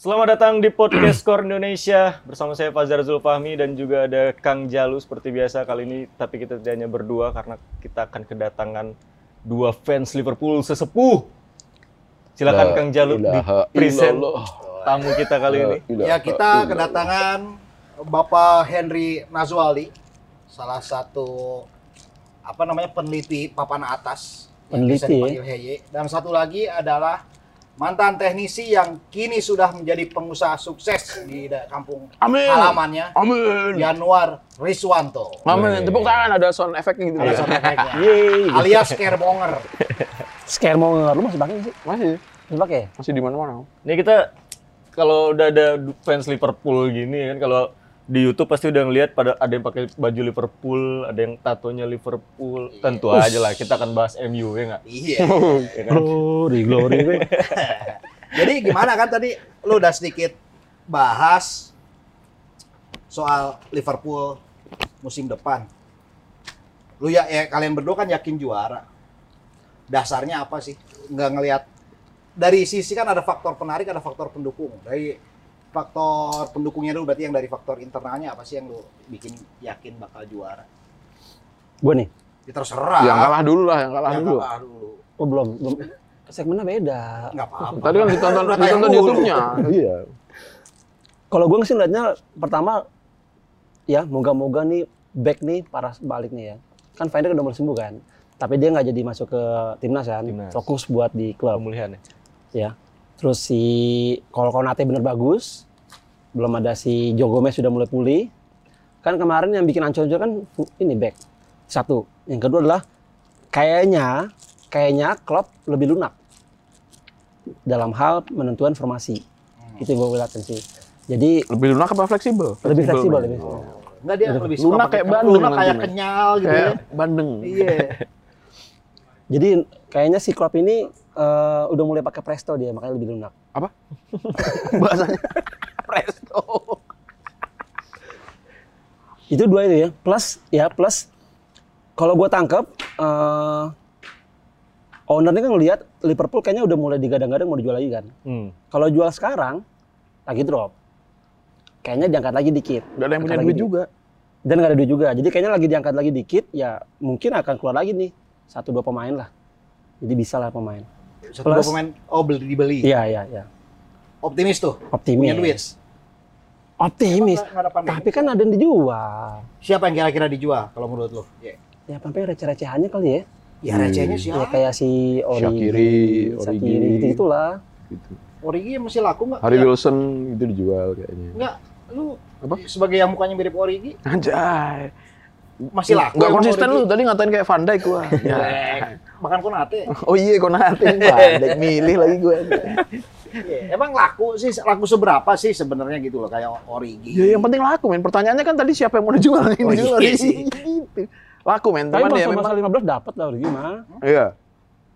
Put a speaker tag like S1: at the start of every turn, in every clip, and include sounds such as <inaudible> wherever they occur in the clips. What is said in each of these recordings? S1: Selamat datang di podcast Core Indonesia bersama saya Fajar Zulfahmi dan juga ada Kang Jalu seperti biasa kali ini tapi kita tidak hanya berdua karena kita akan kedatangan dua fans Liverpool sesepuh. Silakan
S2: La
S1: Kang Jalu di
S2: ilaha
S1: present
S2: illallah.
S1: tamu kita kali <laughs> ini.
S2: Ilaha
S3: Ya kita
S2: illallah.
S3: kedatangan Bapak Henry Nazwali, salah satu apa namanya peneliti papan atas yang
S2: ya.
S4: Peneliti,
S3: bisa dipanggil HY. Dan satu lagi adalah mantan teknisi yang kini sudah menjadi pengusaha sukses di da- kampung
S2: Amin.
S3: halamannya
S2: Amin. Iya.
S3: Januar Riswanto.
S2: Amin. Tepuk tangan ada sound efeknya gitu.
S3: Ada sound effect-nya.
S4: Yeay.
S3: alias scaremonger.
S4: Scare mau ngeluar lu masih pakai nggak sih?
S2: Masih
S4: Masih pakai ya?
S2: masih di mana-mana.
S1: Ini kita kalau udah ada du- fans Liverpool gini kan kalau di YouTube pasti udah ngelihat pada ada yang pakai baju Liverpool, ada yang tatonya Liverpool. Tentu aja lah kita akan bahas MU ya nggak?
S3: Iya.
S2: Oh,
S3: <laughs>
S1: Ya kan?
S4: Glory, glory.
S3: Jadi gimana kan tadi lu udah sedikit bahas soal Liverpool musim depan. Lu ya, ya kalian berdua kan yakin juara. Dasarnya apa sih? Nggak ngelihat dari sisi kan ada faktor penarik, ada faktor pendukung. Dari faktor pendukungnya dulu berarti yang dari faktor internalnya apa sih yang lu bikin yakin bakal juara?
S4: Gue nih,
S3: Ya terserah.
S2: Yang kalah dulu lah, yang kalah
S3: Yang
S2: dulu.
S3: kalah dulu.
S4: oh belum, belum. Segmennya beda.
S3: Nggak apa-apa.
S2: Tadi kan
S3: Udah
S2: ditonton ditonton
S3: tayang
S2: di
S3: mulu.
S2: YouTube-nya.
S5: Iya.
S4: Kalau gue sih liatnya pertama, ya moga-moga nih back nih para balik nih ya. Kan Fender udah mulai sembuh kan. Tapi dia nggak jadi masuk ke timnas kan.
S1: Timnas.
S4: Fokus buat di klub.
S1: Pemulihan ya.
S4: Terus si kalau Konate bener bagus, belum ada si Joe Gomez sudah mulai pulih. Kan kemarin yang bikin ancur-ancur kan fu- ini back satu. Yang kedua adalah kayaknya kayaknya Klopp lebih lunak dalam hal penentuan formasi.
S3: Hmm.
S4: Itu yang gue lihatin sih. Jadi
S2: Lebih lunak apa fleksibel?
S4: lebih fleksibel lebih.
S3: Enggak dia
S4: Aduh,
S3: lebih suka
S2: lunak
S3: pakai
S2: kayak
S3: kebun,
S2: Bandung
S3: lunak kayak
S2: nantinya.
S3: kenyal gitu ya.
S2: Kayak bandeng.
S3: Iya.
S4: Jadi kayaknya si Klopp ini eh, udah mulai pakai Presto dia makanya lebih lunak.
S2: Bahasanya presto.
S4: itu dua itu ya plus ya plus kalau gue tangkap eh ownernya kan ngelihat Liverpool kayaknya udah mulai digadang-gadang mau dijual lagi kan
S1: Hmm.
S4: kalau jual sekarang lagi drop kayaknya diangkat lagi dikit
S2: Gak ada yang punya
S4: Angkat
S2: duit
S4: lagi.
S2: juga.
S4: dan nggak ada duit juga jadi kayaknya lagi diangkat lagi dikit ya mungkin akan keluar lagi nih satu dua pemain lah jadi bisa lah pemain
S3: Satu dua
S4: Plus-
S3: pemain oh beli dibeli.
S4: iya iya iya
S3: Optimis tuh.
S4: optimis
S2: Iya.
S3: Punya duit.
S4: optimis
S3: Nggak- nggak ada pandemi.
S4: tapi kan ada yang dijual
S3: siapa yang kira-kira dijual kalau menurut lo? Ya,
S4: ya sampai receh-recehannya kali ya
S3: ya
S2: Hmm.
S3: recehnya
S4: ya
S3: siapa?
S4: kayak si
S5: Shaqiri,
S4: Origi,
S5: Origi.
S4: Shaqiri, gitu gitulah
S5: Gitu.
S3: Origi masih laku nggak?
S5: Harry
S2: Iya.
S3: Ya,
S5: Wilson itu dijual kayaknya.
S3: Nggak. Lu
S2: Apa?
S3: sebagai yang mukanya mirip Origi
S2: Anjay.
S3: masih laku.
S2: Nggak
S3: emang
S2: konsisten
S3: Origi?
S2: lu tadi ngatain kayak Van Dijk <laughs> gua. Ya.
S3: Jelek. Makan konate.
S2: Oh iya, kok nanti <laughs> Van Dijk milih lagi gua.
S3: Iya, Emang laku sih, laku seberapa sih sebenarnya gitu loh kayak Origi.
S2: Ya yang penting laku men. Pertanyaannya kan tadi siapa yang mau dijual yang
S3: Oh,
S2: dijual
S3: iya
S2: iya, <laughs>
S3: sih.
S2: gitu. Laku men,
S4: Tapi
S2: teman
S4: masa,
S2: ya
S4: masa
S2: memang.
S4: 15 dapat lah Origi mah.
S2: Iya.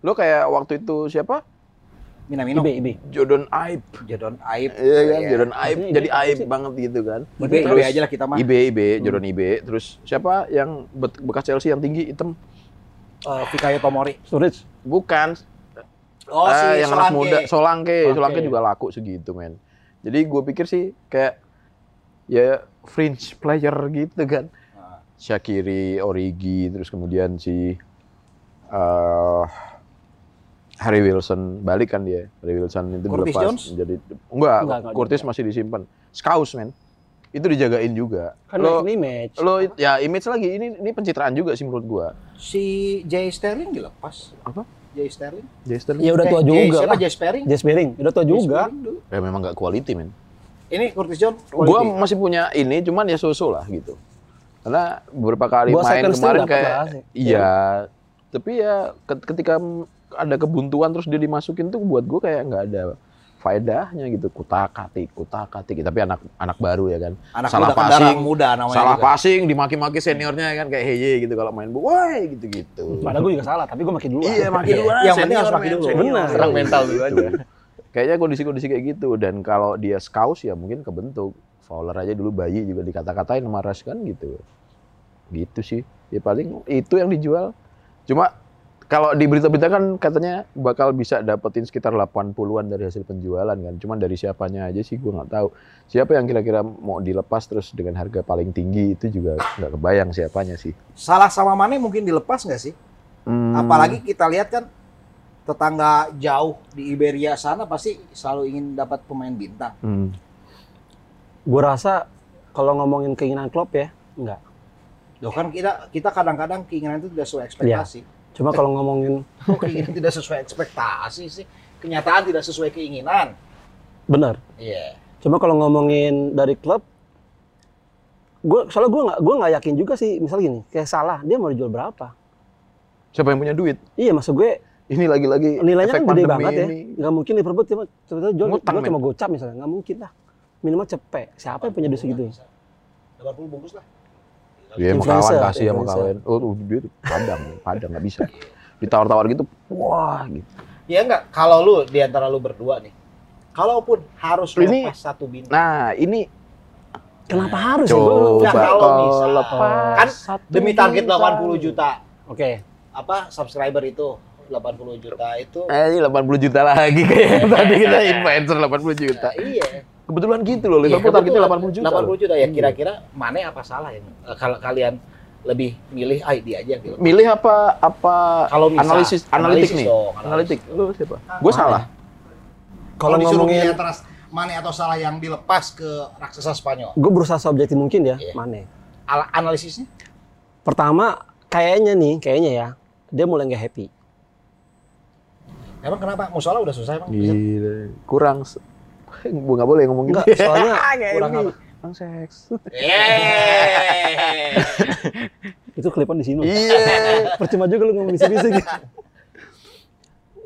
S2: Lo kayak waktu itu siapa?
S3: Minamino.
S4: IB, IB.
S2: Jordan Aib.
S3: Jadon Aib.
S2: Iya Iya. kan, Jordan Aib.
S4: Maksudnya
S2: Jadi
S4: dia apa
S2: Aib
S4: sih?
S2: banget gitu kan.
S3: Ibe, Ibe aja lah kita mah.
S2: IB, IB, Jordan IB. Terus siapa yang be- bekas Chelsea yang tinggi hitam?
S3: Eh, Fikayo Tomori.
S4: Sturridge.
S2: Bukan.
S3: Oh,
S2: Ah,
S3: si
S2: yang
S3: Solanke.
S2: anak muda Solanke.
S1: Solanke.
S2: Solanke, juga laku segitu men. Jadi gue pikir sih kayak ya fringe player gitu kan.
S3: Ah.
S2: Shakiri, Origi, terus kemudian si eh, Harry Wilson balik kan dia. Harry Wilson itu
S3: Curtis
S2: dilepas
S3: Jones?
S2: jadi enggak,
S4: Enggak, enggak
S2: Curtis masih disimpan. Scouse men. Itu dijagain juga.
S4: Kan
S2: Lo-
S4: next image.
S2: lo ya image lagi ini ini pencitraan juga sih menurut gua.
S3: Si Jay Sterling dilepas.
S2: Apa?
S3: Jay Sterling.
S2: Jester
S4: Ya udah tua
S3: Eh, Jay-
S4: juga
S3: Siapa
S4: lah.
S3: Jay Sterling?
S4: Jess Bering, udah tua juga.
S3: Sterling dulu.
S2: ya memang nggak quality men.
S3: Ini Curtis Jones.
S2: Gua masih punya ini cuman ya susu lah gitu. Karena beberapa kali
S4: Gua
S2: main
S4: second
S2: kemarin
S4: still dapat
S2: kayak
S4: lah sih.
S2: iya. Tapi ya ket- ketika m- ada kebuntuan terus dia dimasukin tuh buat gua kayak nggak ada faedahnya gitu kutak atik kutak atik tapi anak anak baru ya kan
S3: anak
S2: salah
S3: muda kendaraan
S2: passing
S3: muda namanya.
S2: salah
S3: juga.
S2: passing dimaki-maki seniornya ya kan kayak heye gitu kalau main bu woi gitu gitu
S4: Padahal gue juga salah, tapi gue makin dulu.
S2: Iya, maki dulu.
S3: Yang penting harus maki dulu.
S4: Benar.
S1: Serang mental dulu aja.
S2: Kayaknya kondisi-kondisi kayak gitu dan kalau dia scouse ya mungkin kebentuk. Fowler aja dulu bayi juga dikata-katain sama Rush kan gitu. Gitu sih. Ya paling itu yang dijual. Cuma kalau di berita-berita kan katanya bakal bisa dapetin sekitar 80-an dari hasil penjualan kan. Cuman dari siapanya aja sih gua nggak tahu. Siapa yang kira-kira mau dilepas terus dengan harga paling tinggi itu juga nggak kebayang siapanya sih.
S3: Salah sama Mane mungkin dilepas nggak sih?
S2: Hmm,
S3: Apalagi kita lihat kan tetangga jauh di Iberia sana pasti selalu ingin dapat pemain bintang.
S2: hmm.
S4: Gue rasa kalau ngomongin keinginan Klopp ya, enggak.
S3: Loh kan kita kita kadang-kadang keinginan itu tidak sesuai ekspektasi.
S4: Cuma kalau ngomongin
S3: Kok keinginan tidak sesuai ekspektasi sih? Kenyataan tidak sesuai keinginan.
S4: benar.
S3: Iya.
S4: Cuma kalau ngomongin dari klub, gue soalnya gue nggak gue nggak yakin juga sih. Misal gini, kayak salah dia mau dijual berapa?
S2: Siapa yang punya duit?
S4: Iya maksud gue
S2: Ini lagi-lagi
S4: nilainya
S2: efek
S4: kan gede
S2: pandemi
S4: banget ya.
S2: ini.
S4: Nggak mungkin Liverpool cuma tiba-tiba jual
S2: Ngutang,
S4: jual
S2: men.
S4: cuma gocap misalnya. Nggak mungkin lah. Minimal cepet. Siapa yang Kan punya gitu. duit segitu?
S3: 80 bungkus lah.
S2: Iya, mau
S4: Influencer,
S2: kawan kasih ya mau
S4: influencer.
S2: kawan. Oh, duit padang, padang nggak bisa. Ditawar-tawar gitu, wah gitu.
S3: Iya enggak? Kalau lu di antara lu berdua nih. Kalaupun harus
S2: Ini-
S3: lepas satu bintang.
S2: Nah, ini
S4: Kenapa harus sih? Gua-
S3: Nah,
S2: coba
S3: kalau
S2: kalau
S3: bisa.
S2: lepas
S3: Kan
S2: satu
S3: Demi target
S2: bintang.
S3: 80 juta
S4: Oke.
S3: apa subscriber itu 80 juta itu.
S2: Eh, ini 80 juta lagi kayak tadi kita influencer 80 juta.
S3: Nah, iya.
S2: Kebetulan gitu loh, Liverpool
S3: Iya,
S2: targetnya
S3: kebetulan.
S2: 80 juta.
S3: 80 juta ya
S2: Iya.
S3: kira-kira mana apa salah ya? Eh, Kalau kalian lebih milih ah, dia aja gitu.
S2: loh. Milih apa apa
S3: Kalau bisa,
S2: analisis analitik nih.
S3: dong,
S2: Analitik. Lu siapa? Gue
S3: Mana?
S2: salah.
S4: Kalau ngomongin
S3: antara Mane atau salah yang dilepas ke raksasa Spanyol.
S4: gue berusaha seobjektif mungkin ya,
S3: Iya.
S4: Mane.
S3: Ala- analisisnya?
S4: Pertama, kayaknya nih, kayaknya ya, dia mulai nggak happy.
S3: Emang kenapa? Musola udah susah emang.
S2: Gila. Kurang se- Gua nggak boleh ngomong gitu.
S4: Enggak, soalnya
S3: Kurang apa?
S2: Kurang seks.
S3: Yeay.
S4: itu kelipan di sini. loh.
S2: Iya.
S4: <laughs> Percuma juga lu ngomong bisik-bisik.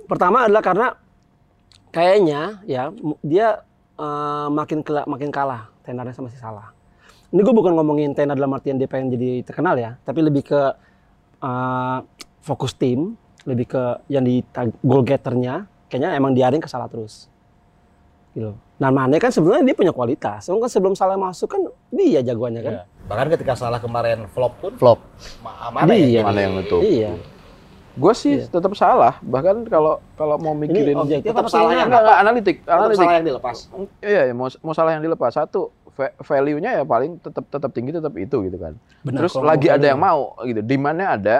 S4: Pertama adalah karena kayaknya ya mu- dia eh, makin kela- makin kalah tenarnya sama si salah. Ini gue bukan ngomongin tenar dalam artian dia pengen jadi terkenal ya, tapi lebih ke eh, fokus tim, lebih ke yang di tag- goal getternya, kayaknya emang diaring ke salah terus. Gitu. Nah Mane kan sebenarnya dia punya kualitas, Cuman kan sebelum salah masuk kan dia jagoannya kan.
S3: Bahkan ketika salah kemarin flop pun
S2: Flop.
S3: ma- mana ya?
S4: Iya.
S2: Mana yang nutup?
S4: Iya.
S2: Gue sih
S4: Iya.
S2: tetap salah. Bahkan kalau kalau mau mikirin
S4: objektif
S3: tetap
S4: apa
S3: salah
S4: tenar?
S3: yang
S2: enggak, enggak, analitik,
S3: Tetap
S2: analitik.
S3: salah yang dilepas.
S2: Iya, ya, mau, mau salah yang dilepas satu va- value-nya ya paling tetap tetap tinggi tetap itu gitu kan.
S4: Benar,
S2: terus
S4: Nah, kalau
S2: lagi
S4: ngomongin
S2: ada yang mau gitu, demand-nya ada,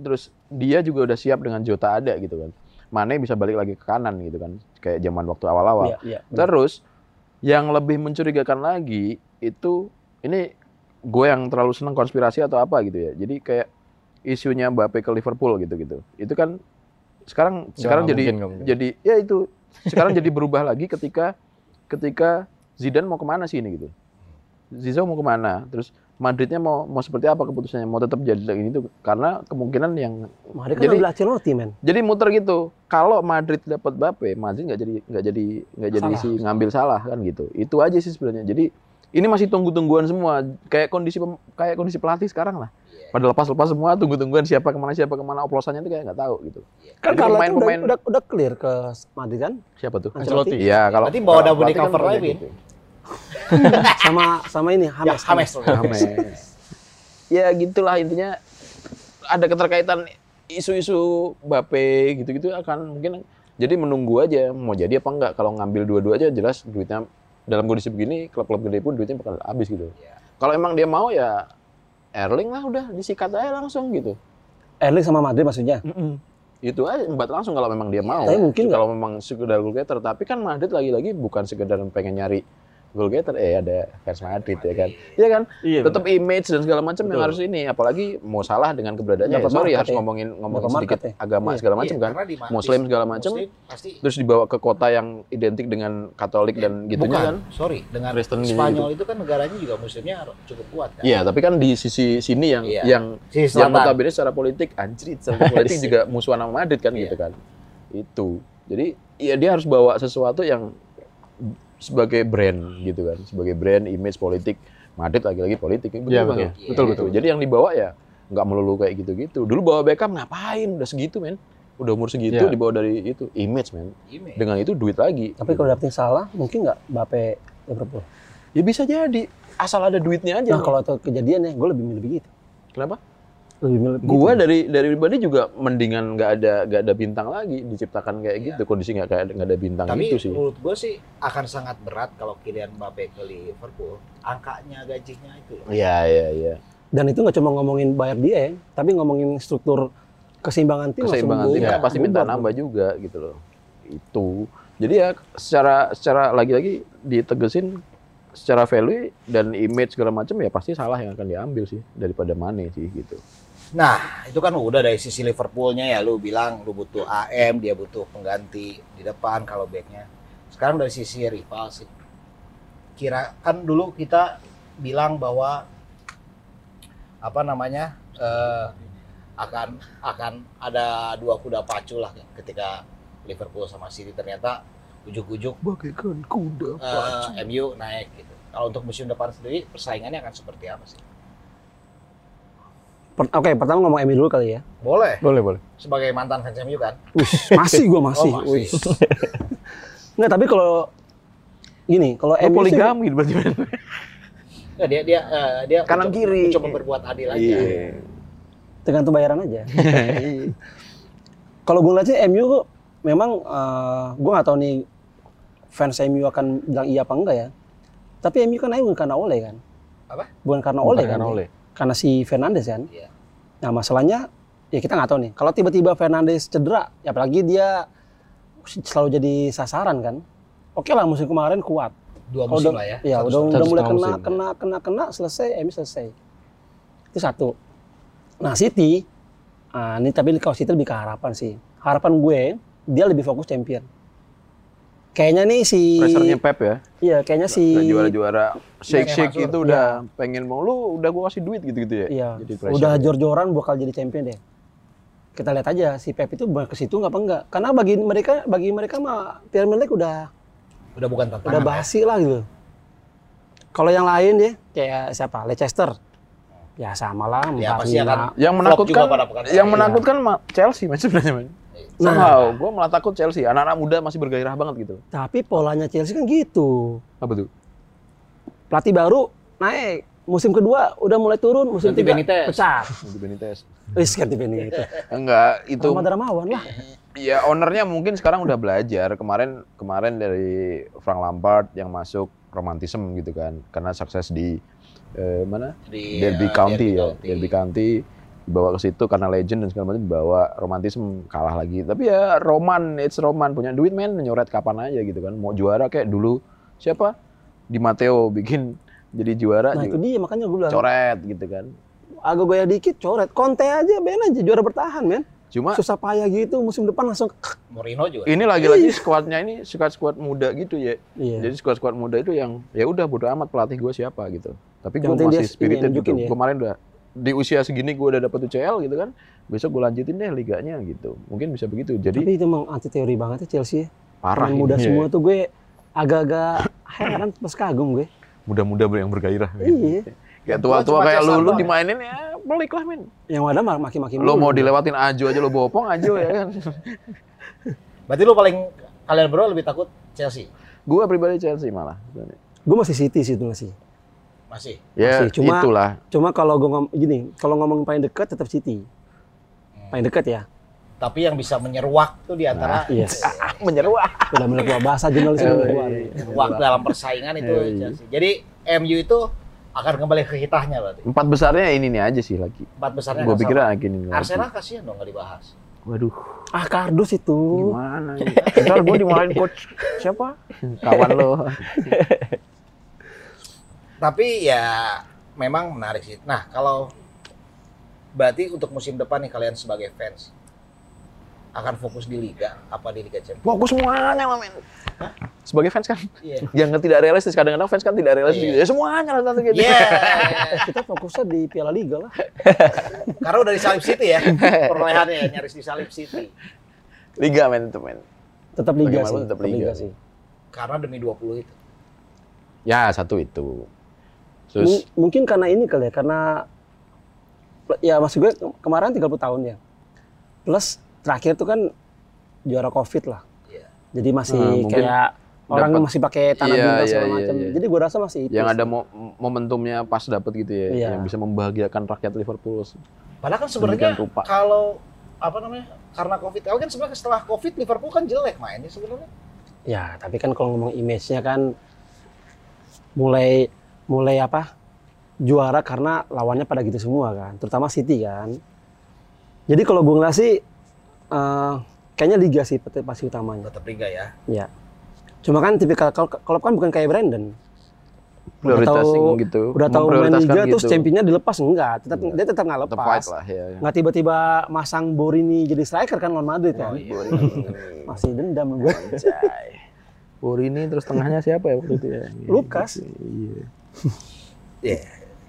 S2: terus dia juga udah siap dengan Jota ada gitu kan. Mane bisa balik lagi ke kanan gitu kan, kayak zaman waktu awal-awal.
S4: Iya, iya.
S2: Hmm. Terus yang lebih mencurigakan lagi itu ini gue yang terlalu seneng konspirasi atau apa gitu ya. Jadi kayak isunya Mbappe ke Liverpool gitu-gitu. Itu kan sekarang sekarang
S1: nggak
S2: jadi
S1: mungkin, nggak mungkin.
S2: jadi ya itu sekarang jadi berubah lagi ketika ketika Zidane mau kemana sih ini gitu. Zizou mau kemana? Terus Madridnya mau mau seperti apa keputusannya? Mau tetap jadi ini tuh karena kemungkinan yang
S4: Madrid kan
S2: Jadi-
S4: ambil Ancelotti men.
S2: jadi muter gitu. Kalau Madrid dapat Mbappe, Madrid nggak jadi nggak jadi nggak jadi
S4: Salah.
S2: si ngambil salah kan gitu. Itu aja sih sebenarnya. Jadi ini masih tunggu-tungguan semua. Kayak kondisi pem- kayak kondisi pelatih sekarang lah.
S3: Iya.
S2: Pada lepas-lepas semua tunggu-tungguan siapa kemana siapa kemana oplosannya itu kayak nggak tahu gitu. Jadi
S4: Kan Carlo itu udah,
S2: pemain-pemain-
S4: udah, udah clear ke Madrid kan
S2: Siapa tuh?
S4: Ancelotti.
S2: Iya kalau
S3: Berarti bawa
S2: kalau
S3: double
S2: pelatih kan
S3: cover
S2: kayak
S3: Levin.
S2: gitu.
S4: sama sama ini
S3: Ya,
S4: Hames.
S3: Hames.
S2: James. <laughs> ya gitulah intinya ada keterkaitan isu-isu Bape gitu-gitu akan mungkin jadi menunggu aja mau jadi apa enggak kalau ngambil dua-dua aja jelas duitnya dalam kondisi begini klub-klub gede pun duitnya bakal habis gitu. Kalau emang dia mau ya Erling lah udah disikat aja langsung gitu.
S4: Erling Eh, sama Madrid maksudnya.
S2: Itu aja empat langsung kalau memang dia mau.
S4: Tapi mungkin
S2: kalau memang sekedar goal getter tapi kan Madrid lagi-lagi bukan sekedar pengen nyari goal getter eh ada fans Madrid ya kan. Iya kan?
S1: Iya.
S2: tetap image dan segala macam yang
S1: Betul.
S2: harus ini apalagi mau salah dengan keberadaannya ya,
S4: Dapat
S2: sorry
S4: market
S2: harus
S4: ya.
S2: ngomongin ngomongin
S4: Dapat
S2: sedikit
S4: market
S2: agama
S4: Iya,
S2: segala macam kan Muslim segala macam
S3: Pasti
S2: terus dibawa ke kota yang identik dengan Katolik dan gitunya kan
S3: bukan, sorry, dengan
S2: Kristen gitu.
S3: Spanyol itu kan negaranya juga muslimnya cukup kuat kan.
S2: Iya, tapi kan di sisi sini yang
S3: Iya.
S2: yang
S3: Si
S2: yang
S3: selatan.
S2: notabene secara politik anjir secara politik juga musuhan sama Madrid kan gitu kan. Itu. Jadi ya dia harus bawa sesuatu yang sebagai brand gitu kan, sebagai brand image politik Madrid lagi-lagi politik betul
S5: Iya,
S2: Bang,
S5: betul.
S2: ya?
S3: Iya.
S2: Betul betul. Jadi yang dibawa ya nggak melulu kayak gitu-gitu. Dulu bawa Beckham ngapain? Udah segitu, men. Udah umur
S5: Iya.
S2: segitu dibawa dari itu image, men.
S3: Gini.
S2: Dengan itu duit lagi.
S4: Tapi kalau dapetin salah mungkin nggak Mbappe Liverpool.
S2: ya bisa jadi asal ada duitnya aja.
S4: Iya, Nah kalau itu kejadian ya gue lebih milih begitu.
S2: Kenapa? Gitu.
S4: lebih milih
S2: Gua dari dari pribadi juga mendingan nggak ada nggak ada bintang lagi diciptakan kayak gitu kondisi nggak kayak nggak ada bintang
S3: Tapi
S2: itu sih.
S3: menurut gue sih akan sangat berat kalau Kylian Mbappe ke Liverpool. Angkanya gajinya itu. loh.
S2: Iya iya iya.
S4: dan itu nggak cuma ngomongin bayar dia ya tapi ngomongin struktur keseimbangan tim langsung
S2: Keseimbangan
S4: bu-
S2: timnya
S4: bubar.
S2: pasti minta nambah juga gitu loh. Itu. Jadi ya secara secara lagi-lagi ditegesin secara value dan image segala macam ya pasti salah yang akan diambil sih daripada Mane sih gitu.
S3: Nah, itu kan udah dari sisi Liverpoolnya ya lu bilang lu butuh AM, dia butuh pengganti di depan kalau backnya. Sekarang dari sisi rival sih. Kira kan dulu kita bilang bahwa apa namanya eh, akan akan ada dua kuda pacu lah ketika Liverpool sama City ternyata ujuk-ujuk
S2: Bagaikan kuda.
S3: eh, MU naik gitu. Kalau untuk musim depan sendiri persaingannya akan seperti apa sih?
S4: Per- oke pertama ngomong Emi dulu
S2: <laughs>
S4: kali ya
S3: Boleh
S5: Boleh, boleh.
S3: sebagai mantan fans MU kan?
S4: Wih, masih gua masih
S3: Oh,
S4: Wih. nggak tapi kalau gini kalau
S2: Lu
S4: Emi sih-
S2: poligami berarti. Men.
S3: <laughs> Nggak, dia dia eh, dia
S2: Kanan
S3: mencoba-
S2: kiri. Iya.
S3: mencoba berbuat adil aja.
S4: tergantung bayaran <laughs> aja kalau gue lihat sih MU kok memang gue nggak tahu nih fans MU akan bilang iya apa enggak ya tapi MU kan naik bukan karena Ole kan
S3: Apa?
S4: bukan karena Ole kan dia? karena si Fernandes kan
S3: Iya.
S4: nah masalahnya ya kita nggak tahu nih kalau tiba-tiba Fernandes cedera ya apalagi dia selalu jadi sasaran kan oke lah musim kemarin kuat
S3: Dua
S4: Kalau
S3: musim
S4: udah-
S3: lah ya.
S4: ya
S3: Satu
S4: udah
S3: setengah.
S4: udah mulai
S5: setengah
S4: kena
S5: musim.
S4: kena kena kena selesai MU selesai itu satu nah City ah, ini tapi kalau City lebih ke harapan sih harapan gue dia lebih fokus champion kayaknya nih si
S2: Pressernya Pep ya. Iya,
S4: iya kayaknya si
S2: Udah juara-juara shake-shake
S3: Mansur.
S2: itu udah pengen mau lu udah gua kasih duit gitu-gitu ya.
S4: iya
S2: Jadi pressure.
S4: udah jor-joran bakal jadi champion deh kita lihat aja si Pep itu bakal ke situ nggak apa enggak karena bagi mereka bagi mereka mah Premier League udah
S3: Udah bukan tantangan.
S4: udah basi lah gitu. Kalau yang lain deh, kayak siapa? Leicester. Ya sama lah,
S3: Ya,
S4: empat
S3: pasti
S4: lima.
S3: akan-
S2: yang
S3: Flop
S2: menakutkan
S3: juga pada pekan
S2: yang
S3: terakhir.
S2: menakutkan ma- Chelsea mas <laughs> sebenarnya man.
S4: kan. Iya. Nah.
S2: Somehow, gue malah takut Chelsea. Anak-anak muda masih bergairah banget gitu.
S4: Tapi polanya Chelsea kan gitu.
S2: Apa tuh?
S4: Pelatih baru naik, musim kedua udah mulai turun, musim
S3: Ganti
S4: tiga
S3: Benitez.
S4: pecat.
S2: Untuk Benitez.
S4: Wis ganti Benitez.
S3: <laughs>
S2: Enggak, itu
S4: Sama Darmawan lah.
S2: ya ownernya mungkin sekarang udah belajar. Kemarin kemarin dari Frank Lampard yang masuk romantisme gitu kan. Karena sukses di eh, mana?
S3: Di,
S2: Derby
S3: eh,
S2: County ya.
S3: County.
S2: Derby County dibawa ke situ karena legend dan segala macam dibawa romantisme kalah lagi. Tapi ya Roman, it's Roman punya duit men nyoret kapan aja gitu kan. Mau juara kayak dulu siapa? Di Matteo bikin jadi juara
S4: Nah itu
S2: juga.
S4: dia makanya gue bilang,
S2: coret gitu kan.
S4: agak gaya dikit coret. Konte aja, ben aja juara bertahan men.
S2: Cuma
S4: Susah payah gitu, musim depan langsung.
S3: Mourinho juga.
S2: ini lagi-lagi skuadnya ini skuad-skuad muda gitu ya.
S4: Iya.
S2: Jadi skuad-skuad muda itu yang ya udah bodo amat pelatih gue siapa gitu. Tapi gue
S4: Yang penting
S2: masih
S4: dia
S2: spirited
S4: ini,
S2: gitu.
S4: nunjukin ya.
S2: Kemarin udah di usia segini gue udah dapet UCL gitu kan. Besok gue lanjutin deh liganya gitu. Mungkin bisa begitu. Jadi
S4: Tapi itu emang anti teori banget ya Chelsea. ya.
S2: parah
S4: Pemain
S2: ini
S4: muda
S2: ya.
S4: semua tuh gue agak-agak heran plus kagum gue.
S2: Muda-muda yang bergairah.
S4: Iya.
S2: <laughs> Kayak
S3: Cuma
S2: tua-tua kayak
S3: Cesar
S2: lu lu
S3: doang ya.
S2: dimainin ya pelik lah men.
S4: Yang ada mah maki-maki
S2: Lu
S4: mulu.
S2: mau dilewatin Ajo aja lu bopong Ajo ya
S4: <laughs>
S2: kan.
S3: Berarti lu paling kalian berdua lebih takut Chelsea
S2: Gue pribadi Chelsea malah.
S4: Gue masih City sih itu masih.
S3: masih.
S2: Ya
S4: Masih, cuma-
S2: itulah.
S4: Cuma kalau gue ngom gini, kalau ngomong paling dekat tetap City. Paling dekat ya.
S3: Tapi yang bisa menyeruak tuh di
S2: Nah,
S3: antara
S2: iya. <laughs>
S4: Yes.
S2: Ah, Menyeruak.
S4: Udah mulai keluar bahasa
S2: Oh,
S4: jurnalis udah mulai keluar.
S3: menyeruak dalam persaingan itu
S2: Iya, iya.
S3: Chelsea. Jadi MU itu akan kembali ke hitahnya berarti.
S2: Empat besarnya ini nih aja sih lagi.
S3: Empat besarnya
S2: Gue
S3: akan
S2: pikir
S3: sama.
S2: lagi nih.
S3: Arsenal kasihan dong nggak dibahas.
S2: Waduh.
S4: Ah kardus itu.
S2: Gimana ini? Ntar gue dimarahin coach siapa? Kawan lo.
S3: Tapi ya memang menarik sih. Nah kalau berarti untuk musim depan nih kalian sebagai fans akan fokus di liga apa di liga champions?
S2: Fokus semuanya lah men. Sebagai fans kan,
S3: Iya.
S2: yang tidak realistis. Kadang-kadang fans kan tidak realistis.
S3: Iya.
S2: Ya semuanya lah satu gitu.
S3: Yeah.
S4: ya, Kita fokusnya di Piala Liga lah.
S3: Karena udah di Salib City ya perolehannya ya, nyaris di Salib City.
S2: Liga men itu men.
S4: Tetap Liga
S2: Bagaimanapun
S4: sih.
S2: tetap Liga.
S4: sih.
S3: Karena demi 20 itu.
S2: Ya satu itu.
S4: M-
S2: Terus
S4: mungkin karena ini kali ya, karena ya maksud gue ke- kemarin 30 tahun ya. Plus terakhir tuh kan juara Covid lah.
S3: Iya.
S4: Jadi masih
S2: Nah, mungkin
S4: kayak orang
S2: dapat-
S4: masih pakai tanah
S2: Iya,
S4: bintang
S2: iya,
S4: segala
S2: iya,
S4: macam.
S2: iya.
S4: Jadi gue rasa masih itu.
S2: yang
S4: sih.
S2: ada mo- momentumnya pas dapet gitu ya,
S4: Iya.
S2: yang bisa membahagiakan rakyat Liverpool
S3: Padahal kan sebenarnya
S2: Demikian rupa.
S3: kalau apa namanya? Karena Covid. Kalau kan sebenarnya setelah Covid Liverpool kan jelek mainnya sebenarnya.
S4: Ya, tapi kan kalau ngomong image-nya kan mulai mulai apa? Juara karena lawannya pada gitu semua kan, terutama City kan. Jadi kalau gue ngeliat sih eh, kayaknya liga sih peti- pasti utamanya.
S3: Tetap Liga ya.
S4: Cuma kan tipikal kalau kalau kan bukan kayak Brandon.
S2: Prioritasin
S4: tahu-
S2: gitu.
S4: Udah tahu main
S2: memprioritaskan
S4: liga
S2: gitu.
S4: terus championnya dilepas enggak? Tetap
S5: Enggak.
S4: dia tetap nggak
S2: Tetap
S4: lepas.
S2: fight lah ya. ya.
S4: Nggak tiba-tiba masang Borini jadi striker kan lawan Madrid
S3: Oh,
S4: kan.
S3: iya.
S4: <laughs> Masih dendam gue.
S2: Anjay. Borini terus tengahnya siapa ya waktu itu <laughs> ya?
S4: Lukas.
S5: Iya.
S3: Iya.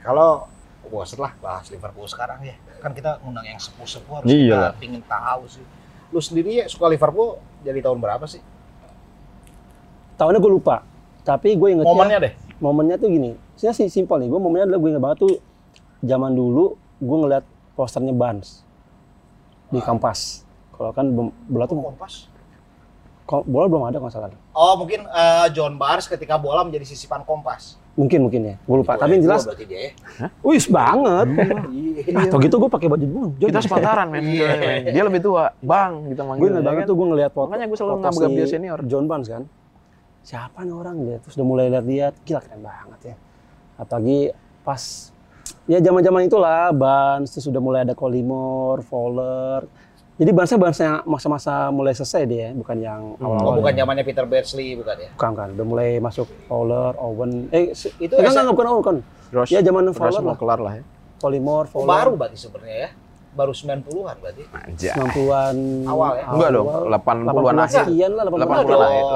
S3: Kalau bosen lah bahas Liverpool sekarang ya. Kan kita ngundang yang sepuh-sepuh harus
S1: Iya lah.
S3: kita pingin tahu sih. Lu sendiri ya suka Liverpool dari tahun berapa sih?
S4: Tahunnya gue lupa. Tapi gue ingetnya
S3: Momennya deh.
S4: momennya tuh gini sebenarnya sih simpel nih gue momennya adalah gue inget banget tuh zaman dulu gue ngeliat posternya Bans di kampas kalau kan belum- bola tuh
S3: Kompas.
S4: ko- bola belum ada kalau nggak salah
S3: Oh mungkin eh, John Barnes ketika bola menjadi sisipan kompas.
S4: mungkin mungkin ya gue lupa
S3: Boleh,
S4: tapi yang jelas
S3: gua berarti dia ya.
S4: wis banget
S3: Iya.
S4: atau gitu gue pakai baju bun
S2: Kita sepantaran men.
S3: Iya.
S2: Dia lebih tua. Bang kita manggil.
S4: gue inget banget tuh gue ngeliat foto
S2: Makanya gue selalu
S4: foto
S2: nganggap
S4: si
S2: dia senior.
S4: John Barnes kan siapa nih orang dia terus udah mulai lihat-lihat gila keren banget ya apalagi pas ya zaman-zaman itulah Barnes terus sudah mulai ada Colimore, Fowler jadi Barnesnya Barnes yang masa-masa mulai selesai dia bukan yang
S3: Oh,
S4: awal-awal
S3: bukan
S4: ya.
S3: zamannya Peter Beardsley bukan ya?
S4: bukan kan udah mulai masuk Fowler, Owen eh se-
S3: Itu
S4: eh, kan,
S3: SM
S4: kan, bukan Owen kan
S2: Gross.
S4: ya zaman
S2: Gross
S4: Fowler
S2: mau
S4: lah
S2: kelar lah ya.
S4: Colimore,
S3: Oh,
S4: Fowler
S3: baru berarti sebenarnya ya. Baru 90-an berarti.
S2: Anjay.
S4: 90-an
S3: Awal ya?
S2: Enggak dong, 80-an
S4: 80-an
S2: akhir.
S4: sekian lah
S2: 80-an
S4: 80-an
S3: Enggak
S2: akhir.
S3: dong.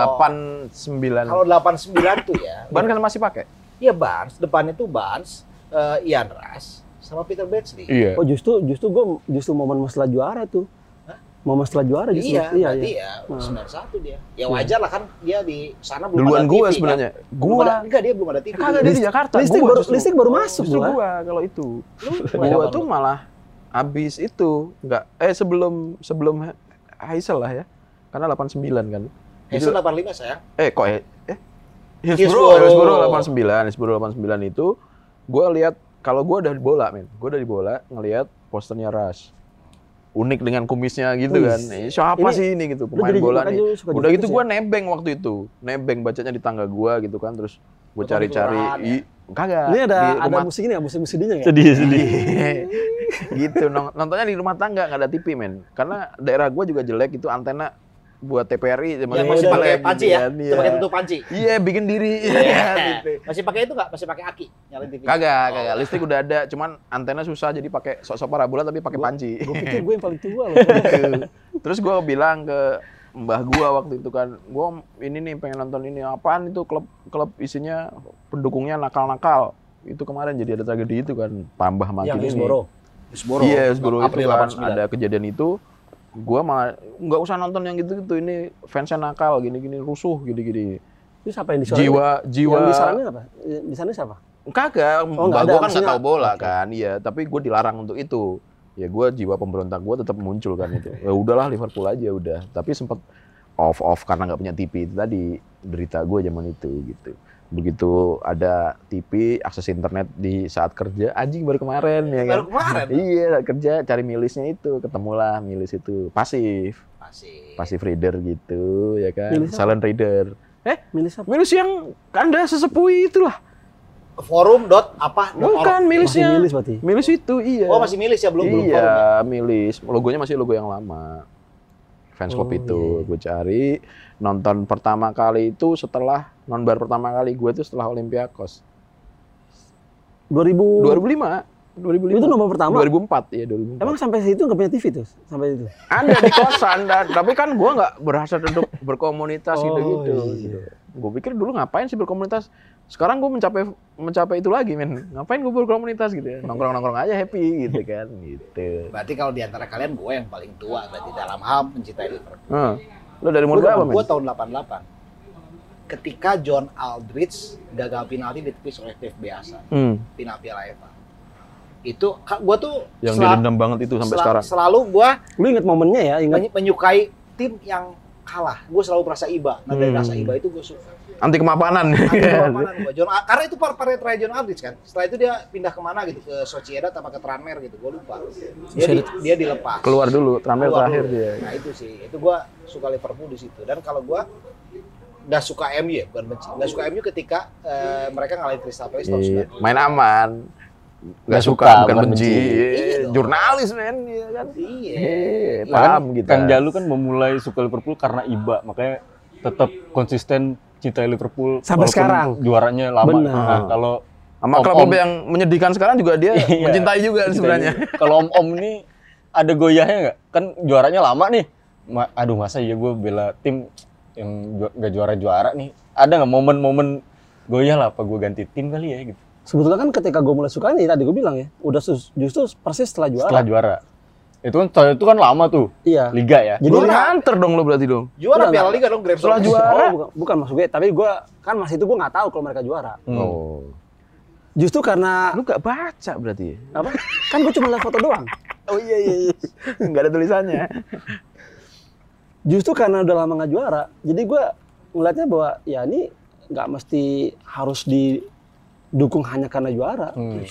S2: 89.
S3: Kalau 89 tuh ya.
S2: Ban kan masih pakai?
S3: Iya Barnes, depannya tuh Barnes, eh, Ian Rush sama Peter Beardsley.
S5: Iya.
S4: Oh justru justru gue justru momen setelah juara tuh.
S3: Hah?
S4: Momen setelah juara justru.
S3: Iya,
S4: iya,
S3: berarti
S4: iya.
S3: ya 91 dia. Ya wajar lah kan dia di sana belum
S2: Duluan
S3: ada
S2: gua
S3: TV,
S2: sebenarnya.
S3: Kan? Belum
S2: Gua. Ya
S3: ada- enggak dia belum ada Eh, TV.
S2: Kagak dia di Jakarta.
S4: Listrik
S2: Gua
S4: baru
S2: justru.
S4: listrik baru
S3: Oh,
S4: masuk
S2: Justru
S4: gua.
S2: gua kalau itu.
S3: Lu mulai
S2: Gua
S3: kapan
S2: tuh
S3: lu?
S2: malah abis itu nggak eh sebelum sebelum Ha- Haisel lah ya. Karena 89 kan.
S3: Hazel 85 sayang.
S2: Eh kok eh, eh
S3: Hillsborough.
S2: Hillsborough, Hillsborough 89, Hillsborough 89 itu gua lihat kalau gua udah di bola, men. Gua udah di bola ngelihat posternya Rush. Unik dengan kumisnya gitu
S4: Wih.
S2: kan. Eh, Siapa
S4: Ini-
S2: sih ini gitu
S4: Lu
S2: pemain
S4: jadi-
S2: bola
S4: makanya
S2: nih.
S4: lu suka ya?
S2: Udah
S4: jadi
S2: gitu
S4: fokus
S2: gua nebeng waktu itu. Nebeng bacanya di tangga gua gitu kan terus gua
S3: Foto
S2: cari-cari
S3: kelurahan ya?
S2: i- kagak
S4: ya. Ini ada
S2: di
S4: ada
S2: rumah
S4: musik ini ya, musik-musik dinya ya?
S1: <laughs> sedih sedih
S2: Iya. <laughs> gitu nong- nontonnya di rumah tangga nggak ada TV men karena daerah gua juga jelek itu antena buat TPRI
S3: Yang
S2: zaman itu
S3: masih
S2: jelek
S3: Iya, pakai
S2: gitu
S3: panci ya.
S2: kan,
S3: Masih
S2: iya.
S3: pakai tutup panci.
S2: <laughs> iya bikin diri
S3: Iya.
S2: gitu.
S3: Masih pakai itu enggak? Masih pakai aki nyalain TV.
S2: <laughs> kagak kagak listrik udah ada cuman antena susah jadi pakai sok-sok parabola tapi pakai panci
S4: Gue
S2: <laughs>
S4: pikir gue yang paling tua loh.
S2: Gitu. terus gua bilang ke mbah gua waktu itu kan gua ini nih pengen nonton ini apaan itu klub klub isinya pendukungnya nakal-nakal itu kemarin jadi ada tragedi itu kan tambah makin ini.
S3: Hillsborough.
S2: Iya, Hillsborough itu
S3: April
S2: kan
S3: 89.
S2: ada kejadian itu. Gua malah nggak usah nonton yang gitu-gitu. Ini fansnya nakal, gini-gini rusuh, gini-gini.
S4: Itu siapa yang disorain? ya?
S2: Jiwa, jiwa.
S4: Yang disaranin apa? Di sana siapa?
S2: Kagak, mbak
S4: Oh, nggak ada,
S2: gua kan nggak
S4: maksudnya-
S2: tahu bola
S4: Oke.
S2: kan, iya. Tapi gue dilarang untuk itu. Ya gue jiwa pemberontak gue tetap muncul kan itu. Ya udahlah Liverpool aja udah. Tapi sempat off off karena nggak punya TV itu tadi derita gue zaman itu gitu. Begitu ada TV, akses internet di saat kerja, anjing baru kemarin ya kan.
S3: Baru kemarin.
S2: Iya saat kerja cari milisnya itu, ketemulah milis itu pasif,
S3: Masih.
S2: pasif reader gitu ya kan,
S4: Milis apa?
S2: silent reader.
S4: Milih siapa?
S2: Milis yang anda sesepui itulah,
S3: Forum dot apa? dot org.
S2: bukan
S4: Oh, Masih
S2: milisnya.
S4: milih berarti.
S2: Milis itu iya.
S3: Oh masih milis ya belum belum
S2: iya,
S3: forum ya?
S2: milis. Logonya masih logo yang lama. Fans Club
S4: Oh,
S2: itu
S4: iya, iya.
S2: gue cari nonton pertama kali itu setelah nonbar pertama kali gue itu setelah Olympiakos
S4: 2000.
S2: 2005 2005
S4: Oh. Itu nomor pertama.
S2: 2004 ya 2004
S4: Emang sampai situ nggak punya TV tuh? Sampai itu.
S2: ada di kosan dan tapi kan gua nggak berhasil untuk berkomunitas
S4: Oh,
S2: gitu gitu
S4: iya.
S2: gue pikir dulu ngapain sih berkomunitas sekarang gue mencapai mencapai itu lagi men ngapain gue berkomunitas gitu ya nongkrong nongkrong aja happy gitu kan gitu
S4: Iya.
S3: Berarti kalau di antara kalian gue yang paling tua berarti dalam hal mencintai Liverpool.
S2: Heeh. lo dari
S3: Gue
S2: umur berapa men
S3: gue tahun 88. Ketika John Aldridge gagal penalti ditepis oleh Dave Beasa,
S2: Hmm.
S3: final Piala FA. Itu gue tuh
S5: Yang
S3: sel-
S5: direndam banget itu sampai
S3: sel-
S5: sekarang.
S3: selalu gue
S4: Lu inget momennya ya, inget
S3: menyukai tim yang kalah. Gue selalu merasa iba. Nah dari
S4: Hmm.
S3: rasa iba itu <laughs> gue suka.
S2: anti kemapanan.
S3: Anti perlawanan gua. John, ah, karena itu par partai terakhir John Aldrich kan. Setelah itu dia pindah kemana gitu ke Sociedad apa ke Tranmere gitu. Gue lupa. Dia, di- dia dilepas.
S2: Keluar dulu, terampil
S3: Keluar
S2: terakhir
S3: dulu.
S2: dia.
S3: Nah itu sih, itu gue suka Liverpool di situ. Dan kalau gue nggak suka MU ya, bukan benci. Nggak suka MU ketika eh, mereka ngalahin Crystal Palace tahun
S2: <laughs> Iya,
S3: 90.
S2: Main aman. Nggak
S5: Nggak
S2: suka,
S5: suka,
S2: bukan
S5: bukan
S2: benci.
S5: benci.
S3: Iya dong.
S2: Jurnalis men, iya kan.
S3: Iya.
S2: Eh,
S1: Nah, kan
S2: paham kita.
S1: Kang Jalu kan memulai suka Liverpool karena iba, makanya tetap konsisten cinta Liverpool
S4: Sampai
S1: walaupun
S4: sekarang.
S1: Juaranya lama.
S4: Benar.
S1: Nah, kalau
S2: Sama
S1: Om-om.
S2: klub-klub yang menyedihkan sekarang juga dia
S1: Iya.
S2: mencintai juga <laughs> sebenarnya.
S1: kalau Om Om ini ada goyahnya nggak? Kan juaranya lama nih. Ma- aduh masa iya gue bela tim yang ju- nggak juara-juara nih. Ada nggak momen-momen goyah lah? Apa gue ganti tim kali ya? Gitu.
S4: Sebetulnya kan ketika gue mulai suka ini tadi gue bilang ya, udah sus- justru persis setelah juara.
S1: Setelah juara. Itu kan itu kan lama tuh
S4: Iya.
S1: liga ya.
S4: Jadi
S2: Lu nganter dong lo berarti dong.
S3: Juara
S4: Udah
S3: Piala
S4: nggak-
S3: Liga dong, Grand
S2: Setelah
S3: Slam.
S2: juara.
S4: Oh, bukan, bukan maksud gue, tapi gue kan masih itu gue nggak tahu kalau mereka juara.
S1: Hmm.
S5: Oh.
S4: Justru karena
S2: Lu gak baca <laughs> berarti ya?
S4: apa? Kan gue cuma lihat foto doang.
S2: Oh iya iya iya. Enggak ada tulisannya.
S4: Justru karena udah lama nggak juara, jadi gue melihatnya bahwa ya ini nggak mesti harus didukung hanya karena juara.
S1: Hmm.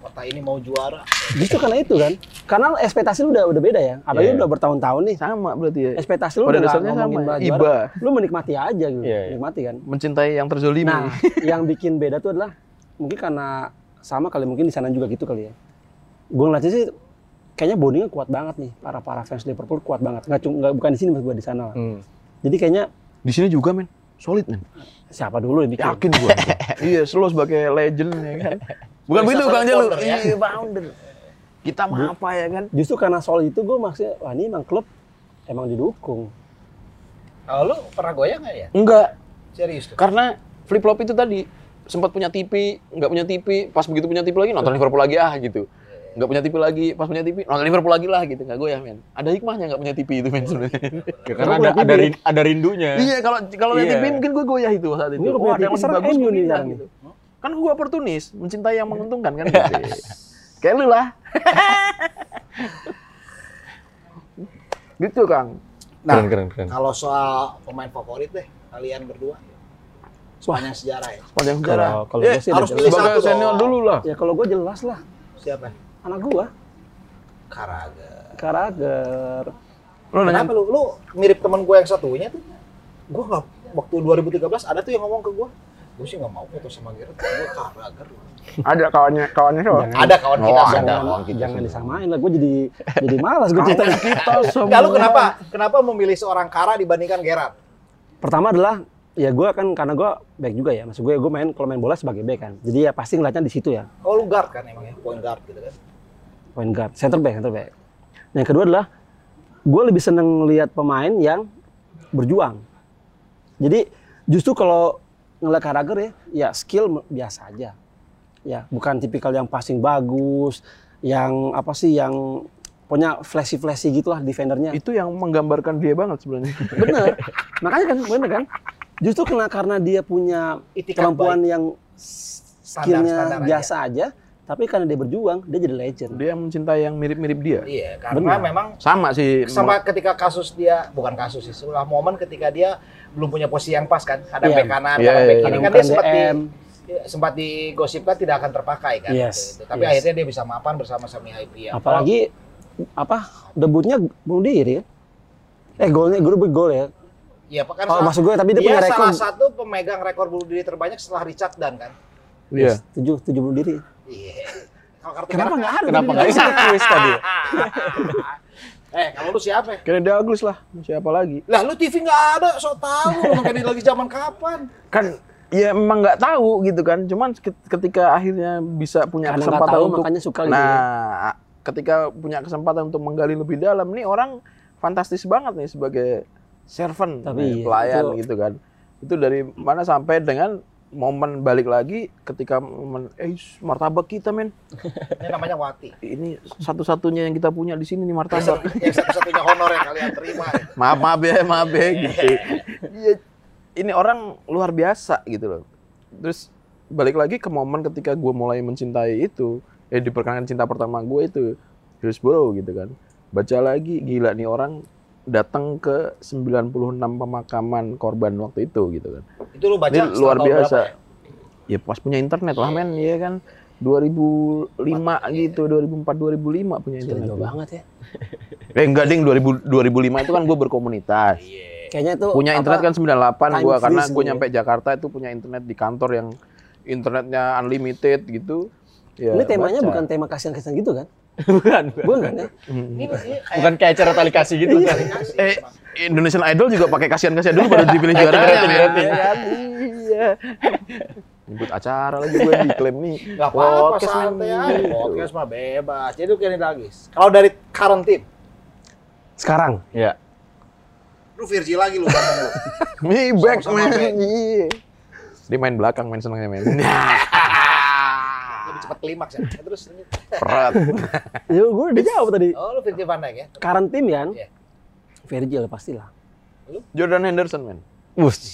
S3: Kota ini mau juara.
S4: Justru karena itu kan, karena ekspektasi lu udah udah beda ya. Apalagi
S1: Iya.
S4: udah bertahun-tahun nih,
S2: Sama berarti ya.
S4: ekspektasi lu
S2: Pada
S4: udah nggak
S2: dasarnya
S4: ngomongin
S2: sama, ya.
S4: bahwa
S2: iba.
S4: juara. Lu menikmati aja gitu,
S1: Iya, iya.
S4: menikmati kan.
S2: Mencintai yang terzolimi.
S4: Nah, <laughs> yang bikin beda tuh adalah mungkin karena sama kali mungkin di sana juga gitu kali ya. Gue ngeliatnya sih kayaknya bondingnya kuat banget nih para para fans Liverpool kuat banget. Nggak, cum- nggak bukan di sini mas gue di sana. lah.
S1: Hmm.
S4: Jadi kayaknya
S2: Di sini juga men. Solid men.
S4: siapa dulu yang bikin?
S2: Yakin <laughs> gua. iya, lo sebagai legend ya kan. Bukan
S3: Bisa
S2: begitu
S3: solid
S2: Kang Jalu.
S3: founder, ya.
S2: Iya, founder. Kita mah apa ya kan?
S4: Justru karena soal itu gue maksudnya wah ini emang klub emang didukung.
S3: Kalau lu pernah goyang nggak ya?
S2: Enggak,
S3: Serius tuh.
S2: karena flip flop itu tadi sempat punya TV, nggak punya TV, pas begitu punya TV lagi nonton Liverpool lagi ah gitu. Nggak punya TV lagi, pas punya TV nonton Liverpool lagi lah gitu. Nggak gue ya men. Ada hikmahnya nggak punya TV itu men sebenarnya.
S1: Ya, karena
S4: Karena
S1: ada
S4: gua
S1: ada,
S4: pilih.
S1: rin- ada rindunya.
S2: Iya, kalau kalau punya
S1: Iya.
S2: TV mungkin gue goyah itu saat itu.
S4: Ini nggak
S2: Oh,
S4: punya
S2: ada yang
S4: TV,
S2: lebih
S4: sekarang
S2: bagus gue
S4: MU nih
S2: pindah
S4: sekarang.
S2: gitu. Kan gue oportunis, mencintai yang menguntungkan kan. gitu. Kayak lu lah. gitu Kang.
S1: Keren
S3: Nah,
S1: keren keren.
S3: kalau soal pemain favorit deh, kalian berdua. Sepanjang sejarah ya.
S2: Kalau yang
S4: Kalau kalau
S2: Eh,
S4: gue sih
S3: harus
S4: udah
S3: pilih
S4: jelas.
S3: satu
S2: sebagai senior
S3: dong.
S2: dulu lah.
S4: Ya kalau gue jelas lah
S3: Siapa?
S4: anak gue
S3: Karaga.
S4: Karager.
S2: Lu nanya
S3: Kenapa lu? Lu mirip teman gue yang satunya tuh. Gue nggak waktu 2013 ada tuh yang ngomong ke gue. Gue sih nggak mau foto sama Gerard. Gue Karaga.
S2: ada kawannya kawannya siapa?
S3: Ada kawan kita
S2: Oh,
S3: semua.
S2: ada.
S4: Jangan, jangan disamain lah gue jadi jadi malas gue cerita.
S2: kita semua.
S3: Enggak, lu kenapa? Kenapa memilih seorang Kara dibandingkan Gerard?
S4: pertama adalah ya gue kan karena gue back juga ya maksud gue gue main kalau main bola sebagai back kan jadi ya pasti ngeliatnya di situ ya
S3: Oh, lu guard kan emang ya, point guard gitu kan.
S4: point guard center back center back yang kedua adalah gue lebih seneng lihat pemain yang berjuang jadi justru kalau ngeliat Carragher ya ya skill me- biasa aja ya bukan tipikal yang passing bagus yang apa sih yang punya flashy flashy gitulah defendernya
S2: Itu yang menggambarkan dia banget sebenarnya.
S4: bener makanya kan bener kan justru kena karena dia punya
S3: Itikat
S4: kemampuan yang
S3: Standar-standar
S4: skillnya
S3: aja.
S4: biasa aja. tapi karena dia berjuang dia jadi legend
S2: Dia mencintai yang mirip-mirip dia.
S3: Iya, karena
S4: Benar.
S3: memang
S2: Sama sih.
S3: sama ketika kasus dia bukan kasus sih, setelah momen ketika dia belum punya posisi yang pas kan, kadang bek
S4: Iya.
S3: kanan,
S2: Iya,
S3: kadang bek
S2: iya, iya.
S3: kiri
S4: Karena
S3: kan
S4: bukan
S3: dia sempat di, iya,
S4: DM.
S3: sempat digosipkan tidak akan terpakai kan.
S4: Yes,
S3: gitu. Tapi
S4: yes.
S3: akhirnya dia bisa mapan bersama Sami ya. Haipia.
S4: apalagi apa debutnya bunuh diri ya. eh golnya gue debut gol ya
S3: Iya, kan
S4: oh,
S3: salah-
S4: maksud gue tapi dia,
S3: dia
S4: punya rekor
S3: salah satu pemegang rekor bunuh diri terbanyak setelah Richard Dan kan.
S2: Iya.
S4: tujuh tujuh bunuh diri
S3: Iya. Kalau kartu
S4: kenapa
S3: merah-
S4: nggak ada
S1: Kenapa
S4: bunuh
S1: nggak
S4: diri?
S1: bisa kuis tadi?
S3: Eh, kalau lu siapa? ya?
S2: Kayaknya dia Agus lah. Siapa lagi?
S3: Lah lu TV nggak ada, so tau lu makan lagi zaman kapan.
S2: Kan ya memang nggak tahu gitu kan. Cuman ket- ketika akhirnya bisa punya
S4: karena nggak
S2: kesempatan
S4: tahu
S2: untuk
S4: makanya suka gitu
S2: Nah,
S4: ya.
S2: ketika punya kesempatan untuk menggali lebih dalam nih orang fantastis banget nih sebagai servant,
S4: Tapi
S2: nih,
S4: iya,
S2: pelayan
S4: itu-
S2: gitu kan. Itu dari mana sampai dengan momen balik lagi ketika momen eh shh, martabak kita men
S3: Ini namanya Wati.
S2: ini satu-satunya yang kita punya di sini nih martabak
S3: Yang satu-satunya honor yang kalian terima.
S2: maaf maaf ya maaf
S3: <laughs>
S2: ya gitu Iya, ini orang luar biasa gitu loh terus balik lagi ke momen ketika gue mulai mencintai itu eh diperkenalkan cinta pertama gue itu Chris Bro gitu kan baca lagi gila nih orang datang ke 96 pemakaman korban waktu itu gitu kan.
S3: Itu lu baca
S2: Ini
S3: setelah
S2: luar
S3: tahun
S2: biasa.
S3: berapa ya?
S2: Ya pas punya internet lah men, iya kan. 2005 gitu,
S3: iya.
S2: 2004 2005 punya
S4: Gila,
S2: internet.
S4: jauh banget ya.
S2: Eh enggak ding 2000 2005 itu kan gue berkomunitas.
S4: Kayaknya itu
S2: Punya
S4: apa,
S2: internet kan 98
S4: time
S2: gua karena
S4: freeze
S2: gue
S4: gitu
S2: nyampe Jakarta itu punya internet di kantor yang internetnya unlimited gitu. Ya,
S4: Ini temanya
S2: baca.
S4: bukan tema kasihan-kasihan gitu kan?
S1: bukan, bukan.
S4: Bukan ya?
S3: Ini maksudnya kayak
S1: Bukan kayak acara tali kasih gitu. kan?
S3: aplikasi.
S2: Eh, Indonesian Idol juga pakai kasihan-kasihan dulu baru dipilih
S4: <laughs>
S2: juara.
S1: Rating,
S4: ya.
S1: rating.
S2: Iya. Nyebut acara lagi gue diklaim nih.
S3: Gak apa-apa,
S2: Podcast
S3: santai
S2: memang
S3: aja.
S2: gitu.
S3: Podcast mah bebas. Jadi lu kira lagi. Kalau dari current team,
S4: Sekarang.
S1: Iya.
S3: lu Virgil lagi lu. Bang, lu.
S2: Mi back
S3: Sama-sama
S2: man.
S3: back.
S2: Iya. Dia main belakang main senangnya <laughs> main.
S3: Lebih cepat klimaks ya. Ya, Terus, lanjut.
S2: Perat.
S4: Ya gue udah jawab tadi.
S3: oh lu Virgil van Dijk ya?
S4: Current team kan?
S3: Iya.
S4: Virgil pastilah.
S2: Jordan Henderson men.
S1: Wush.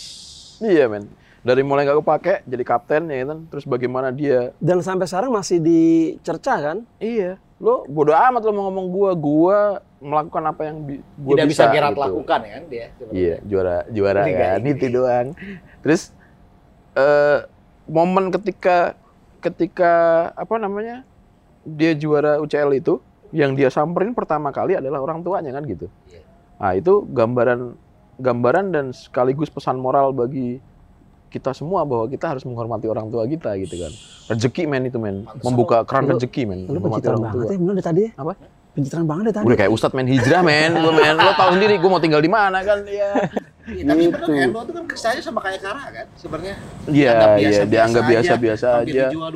S2: Iya men. Dari mulai gak kepake jadi kapten ya kan. Terus bagaimana dia
S4: Dan sampai sekarang masih dicerca kan?
S2: Iya. Lo bodo amat lo mau ngomong gua, gua melakukan apa yang bi- gua
S3: Tidak bisa Gerard
S2: gitu.
S3: lakukan ya kan dia.
S2: Iya, juara juara
S3: Liga
S2: kan,
S3: Inggris.
S2: itu doang. Terus eh momen ketika ketika apa namanya? dia juara UCL itu yang dia samperin pertama kali adalah orang tuanya kan gitu.
S3: Iya.
S2: Nah, itu gambaran gambaran dan sekaligus pesan moral bagi kita semua bahwa kita harus menghormati orang tua kita gitu kan. Rezeki men itu men,
S3: Pantesan
S2: membuka keran
S4: lu-
S2: rezeki men,
S4: Lu
S2: menghormati
S4: pencitraan
S2: orang
S4: banget
S2: tua.
S4: ya, bener dari tadi ya?
S2: Apa?
S4: Pencitraan banget dari tadi.
S2: Udah kayak ustadz main hijrah men, gue men. Lo tau sendiri gue mau tinggal di mana kan. Iya,
S3: Iya, tapi
S2: Gitu.
S3: sebenarnya Endo itu kan kesannya sama kayak Sarah kan sebenarnya.
S2: iya,
S3: Dianggap
S2: iya.
S3: biasa-biasa
S2: Dianggap biasa-biasa
S3: Hampir
S2: aja.
S3: dijual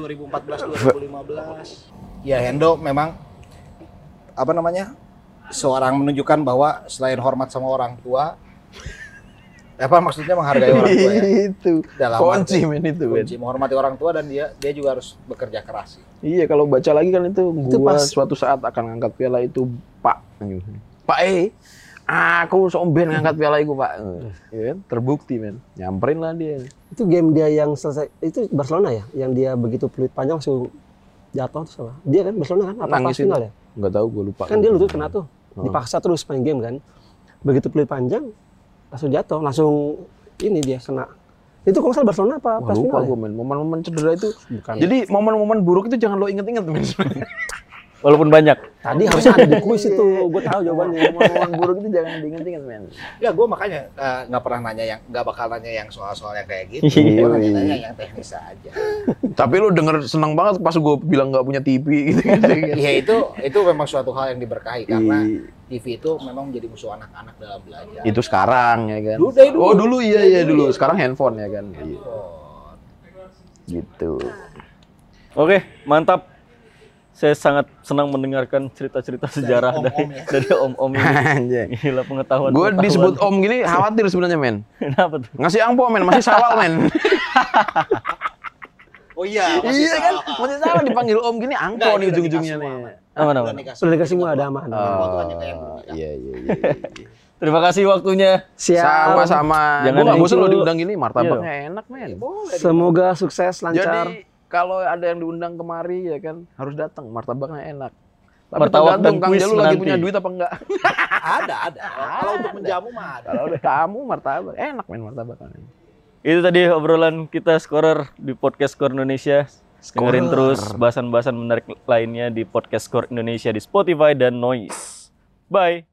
S2: <laughs>
S3: 2014 2015. Ya Hendo memang apa namanya? seorang menunjukkan bahwa selain hormat sama orang tua <laughs> apa maksudnya menghargai orang tua
S2: <laughs>
S3: ya.
S2: Itu
S3: Dalam
S2: kunci
S3: arti-
S2: men itu men.
S3: kunci menghormati orang tua dan dia dia juga harus bekerja keras sih.
S2: Iya kalau baca lagi kan itu
S4: Itu
S2: gua
S4: pas-
S2: suatu saat akan ngangkat piala itu Pak. Pak eh aku somben ngangkat piala itu Pak. Iya kan? Terbukti men. Nyamperin lah dia.
S4: Itu game dia yang selesai, itu Barcelona ya? Yang dia begitu peluit panjang langsung jatuh terus apa? Dia kan Barcelona kan? Apa
S2: Nangis
S4: pas final ya?
S2: Enggak tahu gue lupa.
S4: Kan dia lutut kena tuh.
S2: Heeh.
S4: Dipaksa terus main game kan? Begitu peluit panjang, langsung jatuh. Langsung ini dia kena. Itu kalau nggak salah Barcelona apa
S2: Wah,
S4: pas
S2: lupa
S4: final ya?
S2: gue men. Momen-momen cedera itu.
S4: Bukan.
S2: Jadi momen-momen buruk itu jangan lo inget-inget men.
S1: Walaupun banyak.
S4: Tadi harusnya ada di kuis <laughs> itu, gue tahu
S2: <laughs>
S4: jawabannya.
S2: Momen-momen buruk itu jangan diinget-inget men.
S3: Ya gue makanya eh, nggak pernah nanya yang nggak bakal nanya yang soal-soal yang kayak
S2: <laughs>
S3: gitu.
S2: Iya,
S3: Gua
S2: iya.
S3: nanya yang teknis aja.
S2: Tapi lu denger seneng banget pas gue bilang nggak punya TV gitu. gitu.
S3: <laughs> Iya itu itu memang suatu hal yang diberkahi karena
S2: Iya.
S3: TV itu memang menjadi musuh anak-anak dalam belajar.
S2: Itu sekarang ya kan.
S3: Dulu, dari dulu.
S2: Oh dulu iya
S3: Dari
S2: iya
S3: dulu,
S2: dulu.
S3: iya.
S2: Sekarang handphone ya kan. Iya.
S3: Oh.
S2: Gitu.
S3: Iya.
S1: Oke, mantap. Saya sangat senang mendengarkan cerita-cerita sejarah
S3: om-om
S1: dari
S3: ya.
S1: dari om-om
S2: <laughs>
S1: ini.
S2: Anjay.
S1: Gila pengetahuan.
S2: Gue
S1: pengetahuan. <laughs>
S2: disebut om gini khawatir sebenarnya men.
S1: Kenapa tuh?
S2: Ngasih angpo men, masih sawal men.
S3: Oh <laughs> iya, masih
S2: iya kan,
S3: salah.
S2: masih sawal dipanggil om gini
S3: Enggak,
S2: angpo
S3: ini
S2: nih
S3: udah
S2: ujung-ujungnya
S3: dikasih semua,
S2: nih.
S3: Ahmad.
S1: Aman,
S3: Udah
S1: aman.
S3: dikasih.
S4: Sudah dikasih semua ada aman.
S3: Angpo tuh hanya kayak yang
S2: Oh,
S3: menikah.
S2: iya iya iya. iya.
S1: Terima kasih waktunya.
S4: Siap.
S2: Sama-sama.
S1: Jangan
S2: Gue nggak bosan
S1: gitu.
S2: lo diundang gini, martabaknya enak
S3: Ya,
S2: men.
S3: boleh.
S4: Semoga sukses, lancar.
S2: Jadi kalau ada yang diundang kemari ya kan harus datang martabaknya enak. Tapi
S1: Martabak
S2: tergantung
S1: dan
S2: Kang
S1: kuis
S2: Jalu lagi
S1: menanti.
S2: punya duit apa
S3: <laughs>
S2: enggak.
S3: Ada, ada. Kalau untuk menjamu mah ada.
S2: Kalau ada kamu martabak enak main martabak kan.
S1: Itu tadi obrolan kita Scorer di podcast Skor Indonesia. Dengerin terus bahasan-bahasan menarik lainnya di podcast Skor Indonesia di Spotify dan Noise. Bye.